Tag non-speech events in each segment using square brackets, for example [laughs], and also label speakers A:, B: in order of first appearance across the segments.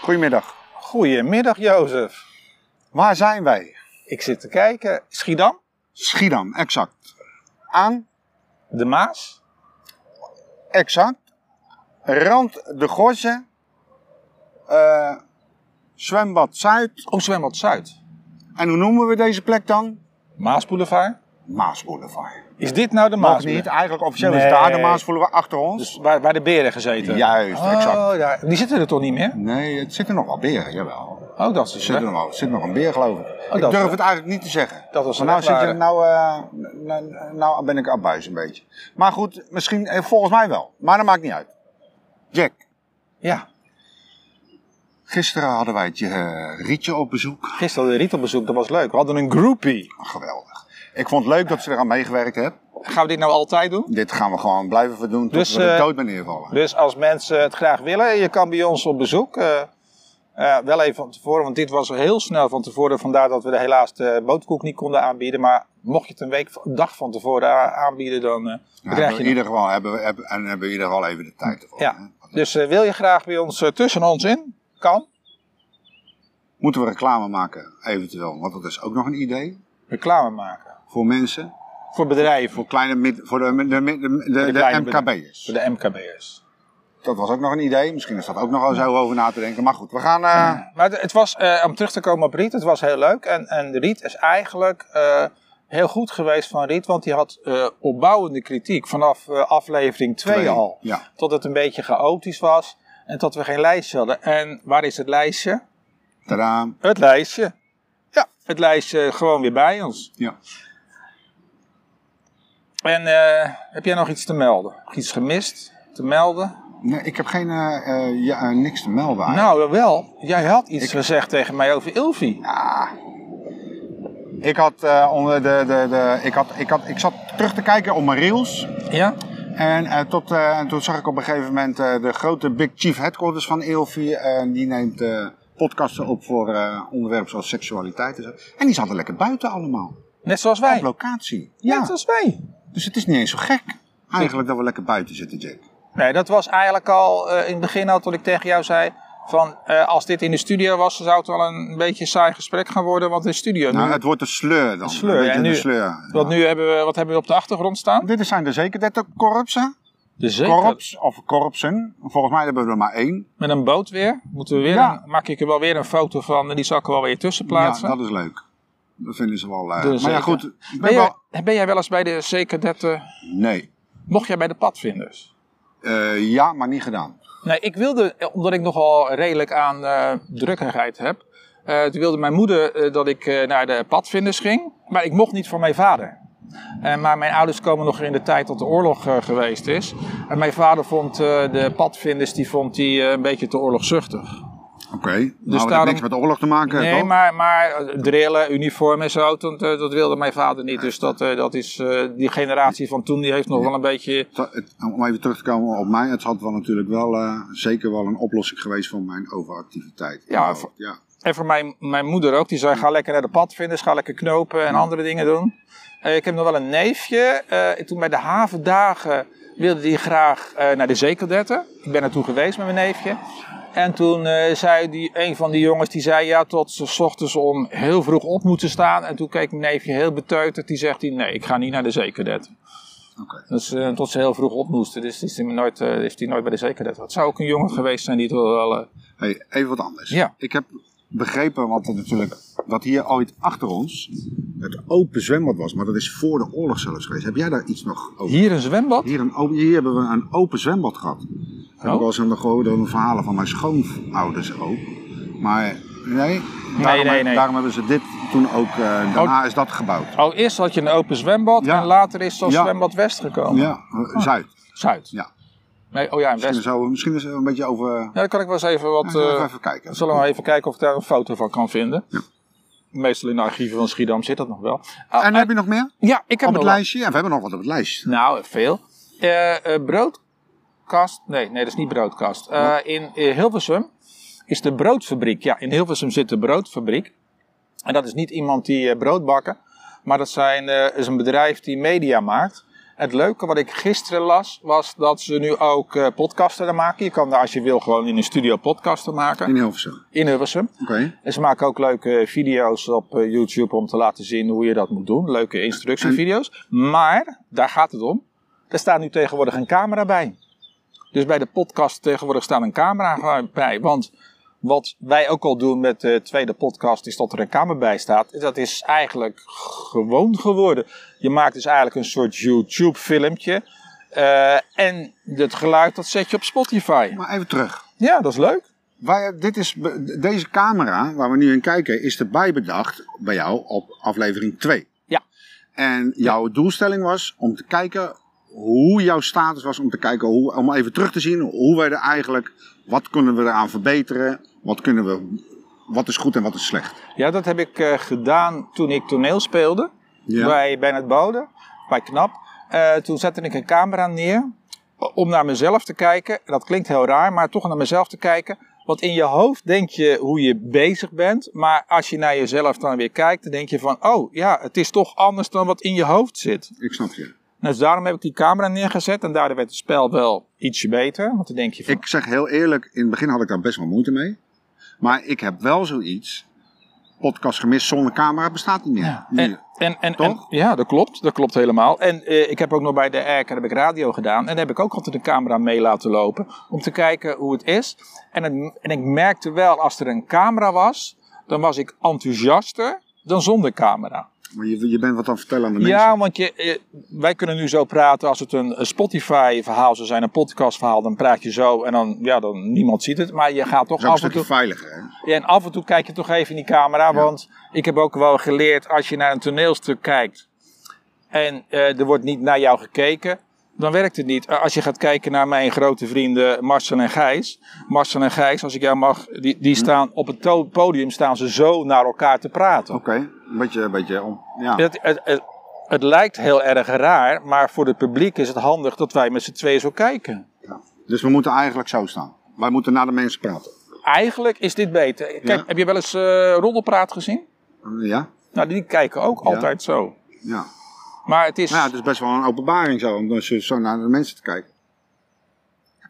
A: Goedemiddag.
B: Goedemiddag Jozef.
A: Waar zijn wij?
B: Ik zit te kijken. Schiedam,
A: Schiedam, exact. Aan,
B: de Maas,
A: exact. Rand de Gorse. eh, zwembad Zuid.
B: op Zwembad Zuid.
A: En hoe noemen we deze plek dan?
B: Maasboulevard.
A: Maasboulevard.
B: Is dit nou de
A: Mag
B: Maas?
A: niet. Eigenlijk officieel is
B: Nee.
A: daar de Maasboulevard achter ons.
B: Dus waar, waar de beren gezeten?
A: Juist,
B: oh,
A: exact.
B: daar- die zitten er toch niet meer?
A: Nee, het zit er nog wel beren, jawel.
B: Oh, dat
A: Er
B: is
A: zit er nog, wel- er zit nog een beer, geloof ik. ik
B: Oh, dat-
A: durf het eigenlijk niet te zeggen.
B: Dat was
A: Maar nou,
B: een
A: zit je,
B: ware.
A: nou, eh, nou, nou ben ik abuis een beetje. Maar goed, misschien, eh, volgens mij wel. Maar dat maakt niet uit. Jack,
B: Ja.
A: gisteren hadden wij het eh, Rietje op bezoek.
B: Gisteren hadden we Riet op bezoek, dat was leuk. We hadden een groupie.
A: Geweldig. Ik vond het leuk dat ze eraan meegewerkt heeft.
B: Gaan we dit nou altijd doen?
A: Dit gaan we gewoon blijven doen tot
B: Dus,
A: we er
B: eh,
A: dood bij neervallen.
B: Dus als mensen het graag willen, je kan bij ons op bezoek. Eh, eh, wel even van tevoren, want dit was heel snel van tevoren. Vandaar dat we de helaas de boterkoek niet konden aanbieden. Maar mocht je het een week, een dag van tevoren a- aanbieden, dan eh, dan
A: Nou, hebben
B: krijg
A: we
B: je
A: in ieder geval hebben we, hebben, en hebben we in ieder geval even de tijd ervoor.
B: Ja.
A: hè.
B: Dus eh, wil je graag bij ons eh, tussen ons in? Kan.
A: Moeten we reclame maken, eventueel? Want dat is ook nog een idee
B: Reclame maken.
A: voor mensen.
B: Voor
A: Voor,
B: bedrijven, voor
A: kleine, mid- voor de, de, de, de, de,
B: kleine
A: MKB'ers.
B: voor de MKB'ers.
A: Dat was ook nog een idee. Misschien is dat ook nog wel zo over na te denken. Maar goed, we gaan. eh,
B: Maar het- het was, eh, om terug te komen op Riet, het was heel leuk. En, en Riet is eigenlijk eh, heel goed geweest van Riet, want die had eh, opbouwende kritiek vanaf eh, aflevering 2
A: twee-
B: al.
A: Ja.
B: Tot het een beetje chaotisch was en tot we geen lijstje hadden. En waar is het lijstje?
A: Tadaa.
B: Het lijstje. Ja, het lijstje gewoon weer bij ons.
A: Ja.
B: En eh, heb jij nog iets te melden? Nog iets gemist te melden?
A: Nee, ik heb geen, eh, eh, ja, eh, niks te melden. eigenlijk.
B: Nou, wel. Jij had iets gezegd tegen mij over Ilvi.
A: Ja. Ah. Ik had, eh, onder de, de, de, ik, had, ik, had, ik zat terug te kijken op mijn reels.
B: Ja?
A: En, eh, tot, eh, en toen zag ik op een gegeven moment eh, de grote Big Chief Headquarters van Ilfi. En die neemt eh, podcasten op voor eh, onderwerpen zoals seksualiteit en zo. En die zaten lekker buiten allemaal.
B: Net zoals wij.
A: Op locatie.
B: Ja.
A: Ja.
B: Net zoals wij.
A: Dus het is niet eens zo gek. Eigenlijk dat we lekker buiten zitten, Jack.
B: Nee, dat was eigenlijk al eh, in het begin al toen ik tegen jou zei... van eh, als dit in de studio was, dan zou het wel een beetje saai gesprek gaan worden. Want in de studio...
A: Nou,
B: nu,
A: het wordt een sleur dan. Een
B: sleur,
A: beetje
B: en nu-
A: een sleur.
B: want nu hebben we... Wat hebben we op de achtergrond staan?
A: Dit zijn er zeker 30 korpsen.
B: De zee.
A: Korps of korpsen. Volgens mij hebben we er maar één.
B: Met een boot weer. Moeten we weer
A: Ja.
B: een- maak ik er wel weer een foto van. En die zal ik er wel weer tussen plaatsen.
A: Ja, dat is leuk. Dat vinden ze wel. eh,
B: Doen
A: maar
B: ze
A: ja,
B: zeker.
A: goed. Ik
B: ben,
A: ben wel...
B: jij, ben jij wel eens bij de C-kadetten...
A: Nee.
B: Mocht jij bij de padvinders?
A: Eh, ja, maar niet gedaan.
B: Nee, ik wilde, eh, omdat ik nogal redelijk aan eh drukkigheid heb, eh, toen wilde mijn moeder eh, dat ik eh, naar de padvinders ging. Maar ik mocht niet voor mijn vader. Eh, maar mijn ouders komen nog in de tijd dat de oorlog eh, geweest is. En mijn vader vond eh, de padvinders die vond hij eh, een beetje te oorlogzuchtig.
A: Oké. Dus nou, dat
B: daarom-
A: heeft niks met oorlog te maken.
B: Nee,
A: toch?
B: maar, maar eh, drillen, uniform en zo, dat, eh, dat wilde mijn vader niet. Dus dat, eh, dat is, eh, die generatie van toen die heeft nog wel een beetje
A: Het- het- Om even terug te komen op mij, het had wel natuurlijk wel eh, zeker wel een oplossing geweest voor mijn overactiviteit.
B: Ja,
A: Nou, ja.
B: En voor mijn, mijn moeder ook, die zei: ga lekker naar de padvinders, ga lekker knopen en andere dingen doen. Eh, ik heb nog wel een neefje. eh, toen bij de havendagen wilde die graag eh, naar de zeekeldetten. Ik ben naartoe geweest met mijn neefje. En toen eh, zei die, een van die jongens, die zei ja, tot ze 's ochtends om heel vroeg op moeten staan. En toen keek mijn neefje heel beteuterd, die zegt die, nee, ik ga niet naar de zeekerdetten.
A: Oké.
B: Dus eh, tot ze heel vroeg op moesten, dus die is die nooit, eh, heeft hij nooit bij de zeekerdetten. Het zou ook een jongen geweest zijn die het wel... eh,
A: Hey, even wat anders.
B: Ja.
A: Ik heb begrepen, want dat natuurlijk, dat hier ooit achter ons het open zwembad was, maar dat is voor de oorlog zelfs geweest. Heb jij daar iets nog over?
B: hier een zwembad?
A: Hier, een open, hier hebben we een open zwembad gehad.
B: Oh.
A: Heb ik wel eens aan de gehoorde verhalen van mijn schoonouders ook. Maar nee, daarom,
B: nee, Oh. nee.
A: daarom hebben ze dit toen ook, eh, daarna is dat gebouwd.
B: Oh, eerst had je een open zwembad
A: Ja.
B: en later is dat
A: Ja.
B: zwembad West gekomen.
A: Ja, eh,
B: Ah.
A: Zuid.
B: Zuid.
A: Ja.
B: Nee, oh ja, in West.
A: Misschien, zo, misschien is er een beetje over...
B: Ja, daar kan ik wel eens even wat...
A: Zullen we
B: eh,
A: even kijken.
B: zullen we maar even kijken of ik daar een foto van kan vinden.
A: Ja.
B: Meestal in de archieven van Schiedam zit dat nog wel. Oh,
A: En
B: eh,
A: heb je nog meer
B: ja, ik heb
A: op
B: nog
A: het
B: wel-
A: lijstje? Ja, we hebben nog wat op het lijstje.
B: Nou, veel. Eh, eh, broodkast. Nee, nee, dat is niet broodkast. Eh, in eh, Hilversum is de broodfabriek. Ja, in Hilversum zit de broodfabriek. En dat is niet iemand die eh, brood bakken, maar dat zijn, eh, is een bedrijf die media maakt. Het leuke wat ik gisteren las, was dat ze nu ook eh podcasten daar maken. Je kan daar als je wil gewoon in een studio podcasten maken.
A: In Hilversum.
B: In Hilversum.
A: Oké.
B: En ze maken ook leuke video's op eh, YouTube om te laten zien hoe je dat moet doen. Leuke instructievideo's. Maar, daar gaat het om. Er staat nu tegenwoordig een camera bij. Dus bij de podcast tegenwoordig staat een camera bij. Want wat wij ook al doen met de tweede podcast is dat er een camera bij staat. Dat is eigenlijk gewoon geworden. Je maakt dus eigenlijk een soort YouTube filmpje. eh, en het geluid dat zet je op Spotify.
A: Maar even terug.
B: Ja, dat is leuk.
A: Wij, dit is, be- deze camera waar we nu in kijken is erbij bedacht bij jou op aflevering 2.
B: Ja.
A: En jouw doelstelling was om te kijken hoe jouw status was, om te kijken hoe, om even terug te zien hoe wij er eigenlijk, wat kunnen we eraan verbeteren, wat kunnen we, wat is goed en wat is slecht.
B: Ja, dat heb ik eh, gedaan toen ik toneel speelde. bij bij het Bode, bij Knap. Eh, toen zette ik een camera neer om naar mezelf te kijken. Dat klinkt heel raar, maar toch naar mezelf te kijken. Want in je hoofd denk je hoe je bezig bent. Maar als je naar jezelf dan weer kijkt, dan denk je van... Oh ja, het is toch anders dan wat in je hoofd zit.
A: Ik snap je.
B: Nou, dus daarom heb ik die camera neergezet. En daardoor werd het spel wel ietsje beter. Want dan denk je van...
A: Ik zeg heel eerlijk, in het begin had ik daar best wel moeite mee. Maar ik heb wel zoiets, podcast gemist zonder camera bestaat niet meer. Nu.
B: En, en, en,
A: Toch?
B: en- ja, dat klopt. Dat klopt helemaal. En eh, ik heb ook nog bij de ERK heb ik radio gedaan. En daar heb ik ook altijd de camera mee laten lopen. Om te kijken hoe het is. En, het- en ik merkte wel, als er een camera was, dan was ik enthousiaster dan zonder camera.
A: Maar je, je bent wat aan het vertellen aan de mensen.
B: Ja, want je, eh, wij kunnen nu zo praten als het een Spotify-verhaal zou zijn, een podcast-verhaal. Dan praat je zo en dan, ja, dan niemand ziet het. Maar je
A: Dat
B: gaat toch
A: is ook een
B: af en
A: stukje
B: toe...
A: veiliger. Hè?
B: Ja, en af en toe kijk je toch even in die camera. Want ik heb ook wel geleerd, als je naar een toneelstuk kijkt en eh, er wordt niet naar jou gekeken, dan werkt het niet. Eh, Als je gaat kijken naar mijn grote vrienden Marcel en Gijs. Marcel en Gijs, als ik jou mag, die, die staan op het to- podium staan ze zo naar elkaar te praten.
A: Oké, een beetje, een beetje om. Ja.
B: Het, het, het, het lijkt heel erg raar, maar voor het publiek is het handig dat wij met z'n tweeën zo kijken.
A: Dus we moeten eigenlijk zo staan. Wij moeten naar de mensen praten.
B: Eigenlijk is dit beter. Kijk,
A: Ja.
B: heb je wel eens eh roddelpraat gezien?
A: Ja?
B: Nou, die kijken ook
A: Ja.
B: altijd zo.
A: Ja.
B: Maar het is.
A: Nou ja, het is best wel een openbaring zo, om dan zo zo naar de mensen te kijken.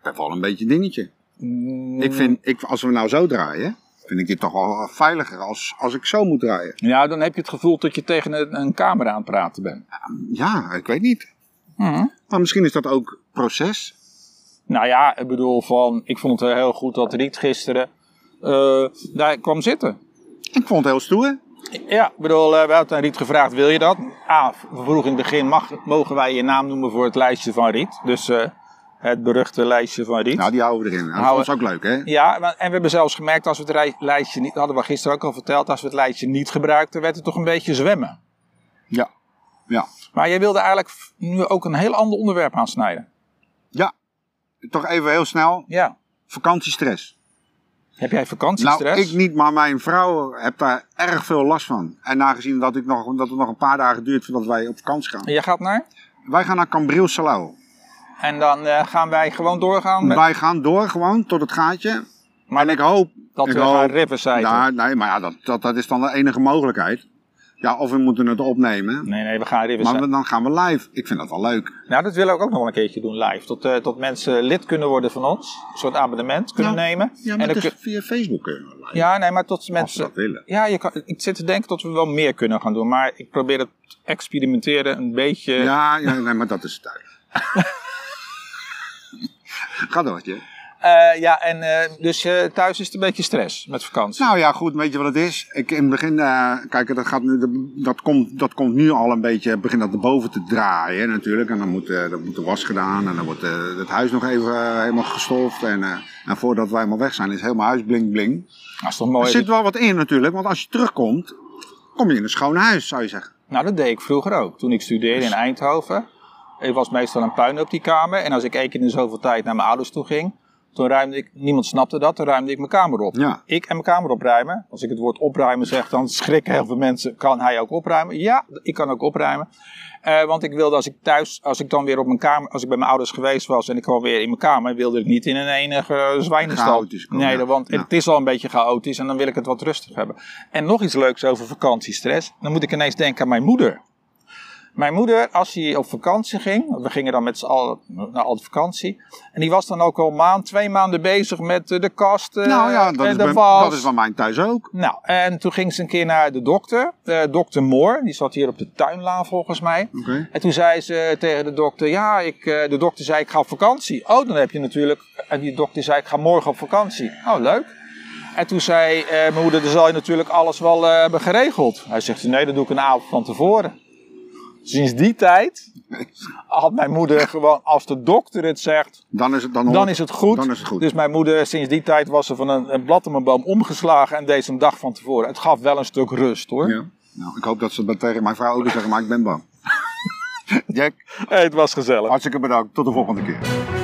A: Dat is wel een beetje een dingetje.
B: Mm,
A: Ik vind, ik, als we nou zo draaien, vind ik dit toch wel veiliger als, als ik zo moet draaien.
B: Ja, dan heb je het gevoel dat je tegen een, een camera aan het praten bent.
A: Ja, ik weet niet.
B: Mhm.
A: Maar misschien is dat ook proces.
B: Nou ja, ik bedoel van. Ik vond het heel goed dat Riet gisteren eh, daar kwam zitten.
A: Ik vond het heel stoer.
B: Ja, ik bedoel, eh, we hadden aan Riet gevraagd: wil je dat? Ah, we vroegen in het begin: mag, mogen wij je naam noemen voor het lijstje van Riet? Dus eh, het beruchte lijstje van Riet.
A: Nou, die houden we erin. Nou, dat
B: Houden-
A: is ook leuk, hè?
B: Ja, maar- en we hebben zelfs gemerkt als we het rij- lijstje niet, hadden we gisteren ook al verteld, als we het lijstje niet gebruikten, werd het toch een beetje zwemmen.
A: Ja. Ja.
B: Maar jij wilde eigenlijk f- nu ook een heel ander onderwerp aansnijden.
A: Toch even heel snel,
B: Ja.
A: vakantiestress.
B: Heb jij
A: Nou,
B: vakantiestress?
A: ik niet, maar mijn vrouw heeft daar erg veel last van. En nagezien dat, ik nog, dat het nog een paar dagen duurt voordat wij op vakantie gaan.
B: En Jij gaat naar?
A: Wij gaan naar Cambril Salau.
B: En dan eh, gaan wij gewoon doorgaan met...
A: Wij gaan door gewoon tot het gaatje.
B: Maar
A: En ik hoop...
B: dat we
A: ik hoop-
B: gaan Riverside.
A: Ja, nee, maar ja, dat, dat, dat is dan de enige mogelijkheid. Ja, of we moeten het opnemen.
B: Nee, nee, we gaan Riverside.
A: Maar we- dan gaan we live. Ik vind dat wel leuk.
B: Nou, dat willen we ook nog wel een keertje doen live. Tot, eh, tot mensen lid kunnen worden van ons. Een soort abonnement kunnen
A: Ja.
B: nemen.
A: Ja,
B: En
A: maar
B: dan
A: het is
B: kun-
A: via Facebook kunnen we live.
B: ja, nee, maar tot
A: Als we
B: mensen...
A: dat willen.
B: Ja, je kan, ik zit te denken dat we wel meer kunnen gaan doen. Maar ik probeer het experimenteren een beetje...
A: Ja, ja nee, maar dat is het uit.
B: [laughs]
A: Ga door, je.
B: Eh, ja en eh, dus eh, thuis is het een beetje stress met vakantie.
A: Nou ja, goed, weet je wat het is? Ik, in het begin, eh, kijk, dat, gaat nu, dat, dat komt, dat komt nu al een beetje, begint dat erboven te draaien natuurlijk. En dan moet, eh dan moet de was gedaan en dan wordt eh, het huis nog even eh, helemaal gestolft. En, eh, en voordat wij helemaal weg zijn, is helemaal huis bling bling.
B: dat Nou, is toch
A: Er
B: mooi.
A: zit wel wat in natuurlijk, want als je terugkomt, kom je in een schoon huis, zou je zeggen.
B: Nou, dat deed ik vroeger ook. Toen ik studeerde in Eindhoven, er was meestal een puin op die kamer. En als ik één keer in zoveel tijd naar mijn ouders toe ging, toen ruimde ik, niemand snapte dat, toen ruimde ik mijn kamer op.
A: Ja.
B: Ik en mijn kamer opruimen. Als ik het woord opruimen zeg, dan [laughs] schrikken heel veel mensen. Kan hij ook opruimen? Ja, ik kan ook opruimen. Eh, want ik wilde als ik thuis, als ik dan weer op mijn kamer, als ik bij mijn ouders geweest was en ik kwam weer in mijn kamer, wilde ik niet in een enige eh, zwijnenstal.
A: Chaotisch komen,
B: Nee,
A: ja.
B: want
A: Ja.
B: het is al een beetje chaotisch en dan wil ik het wat rustig hebben. En nog iets leuks over vakantiestress. Dan moet ik ineens denken aan mijn moeder. Mijn moeder, als hij op vakantie ging, we gingen dan met z'n allen naar al de vakantie. En die was dan ook al een maand, twee maanden bezig met eh, de kast eh,
A: nou ja, dat
B: en
A: is,
B: de
A: bij-
B: was.
A: dat is van mijn thuis ook.
B: Nou, en toen ging ze een keer naar de dokter, eh dokter Moor. Die zat hier op de tuinlaan volgens mij.
A: Oké.
B: En toen zei ze tegen de dokter, ja, ik, eh, de dokter zei ik ga op vakantie. Oh, dan heb je natuurlijk, en die dokter zei ik ga morgen op vakantie. Oh, leuk. En toen zei eh, mijn moeder, dan zal je natuurlijk alles wel eh, hebben geregeld. Hij zegt, nee, dat doe ik een avond van tevoren. Sinds die tijd had mijn moeder gewoon, als de dokter het zegt,
A: Dan is het, dan
B: dan
A: hoort-
B: is het goed.
A: Dan is het goed.
B: Dus mijn moeder, sinds die tijd was ze van een, een blad om een boom omgeslagen en deed ze een dag van tevoren. Het gaf wel een stuk rust hoor.
A: Ja. Nou, ik hoop dat ze dat tegen mijn vrouw ook zeggen, maar ik ben bang. [laughs] Jack,
B: Eh, het was gezellig.
A: hartstikke bedankt. Tot de volgende keer.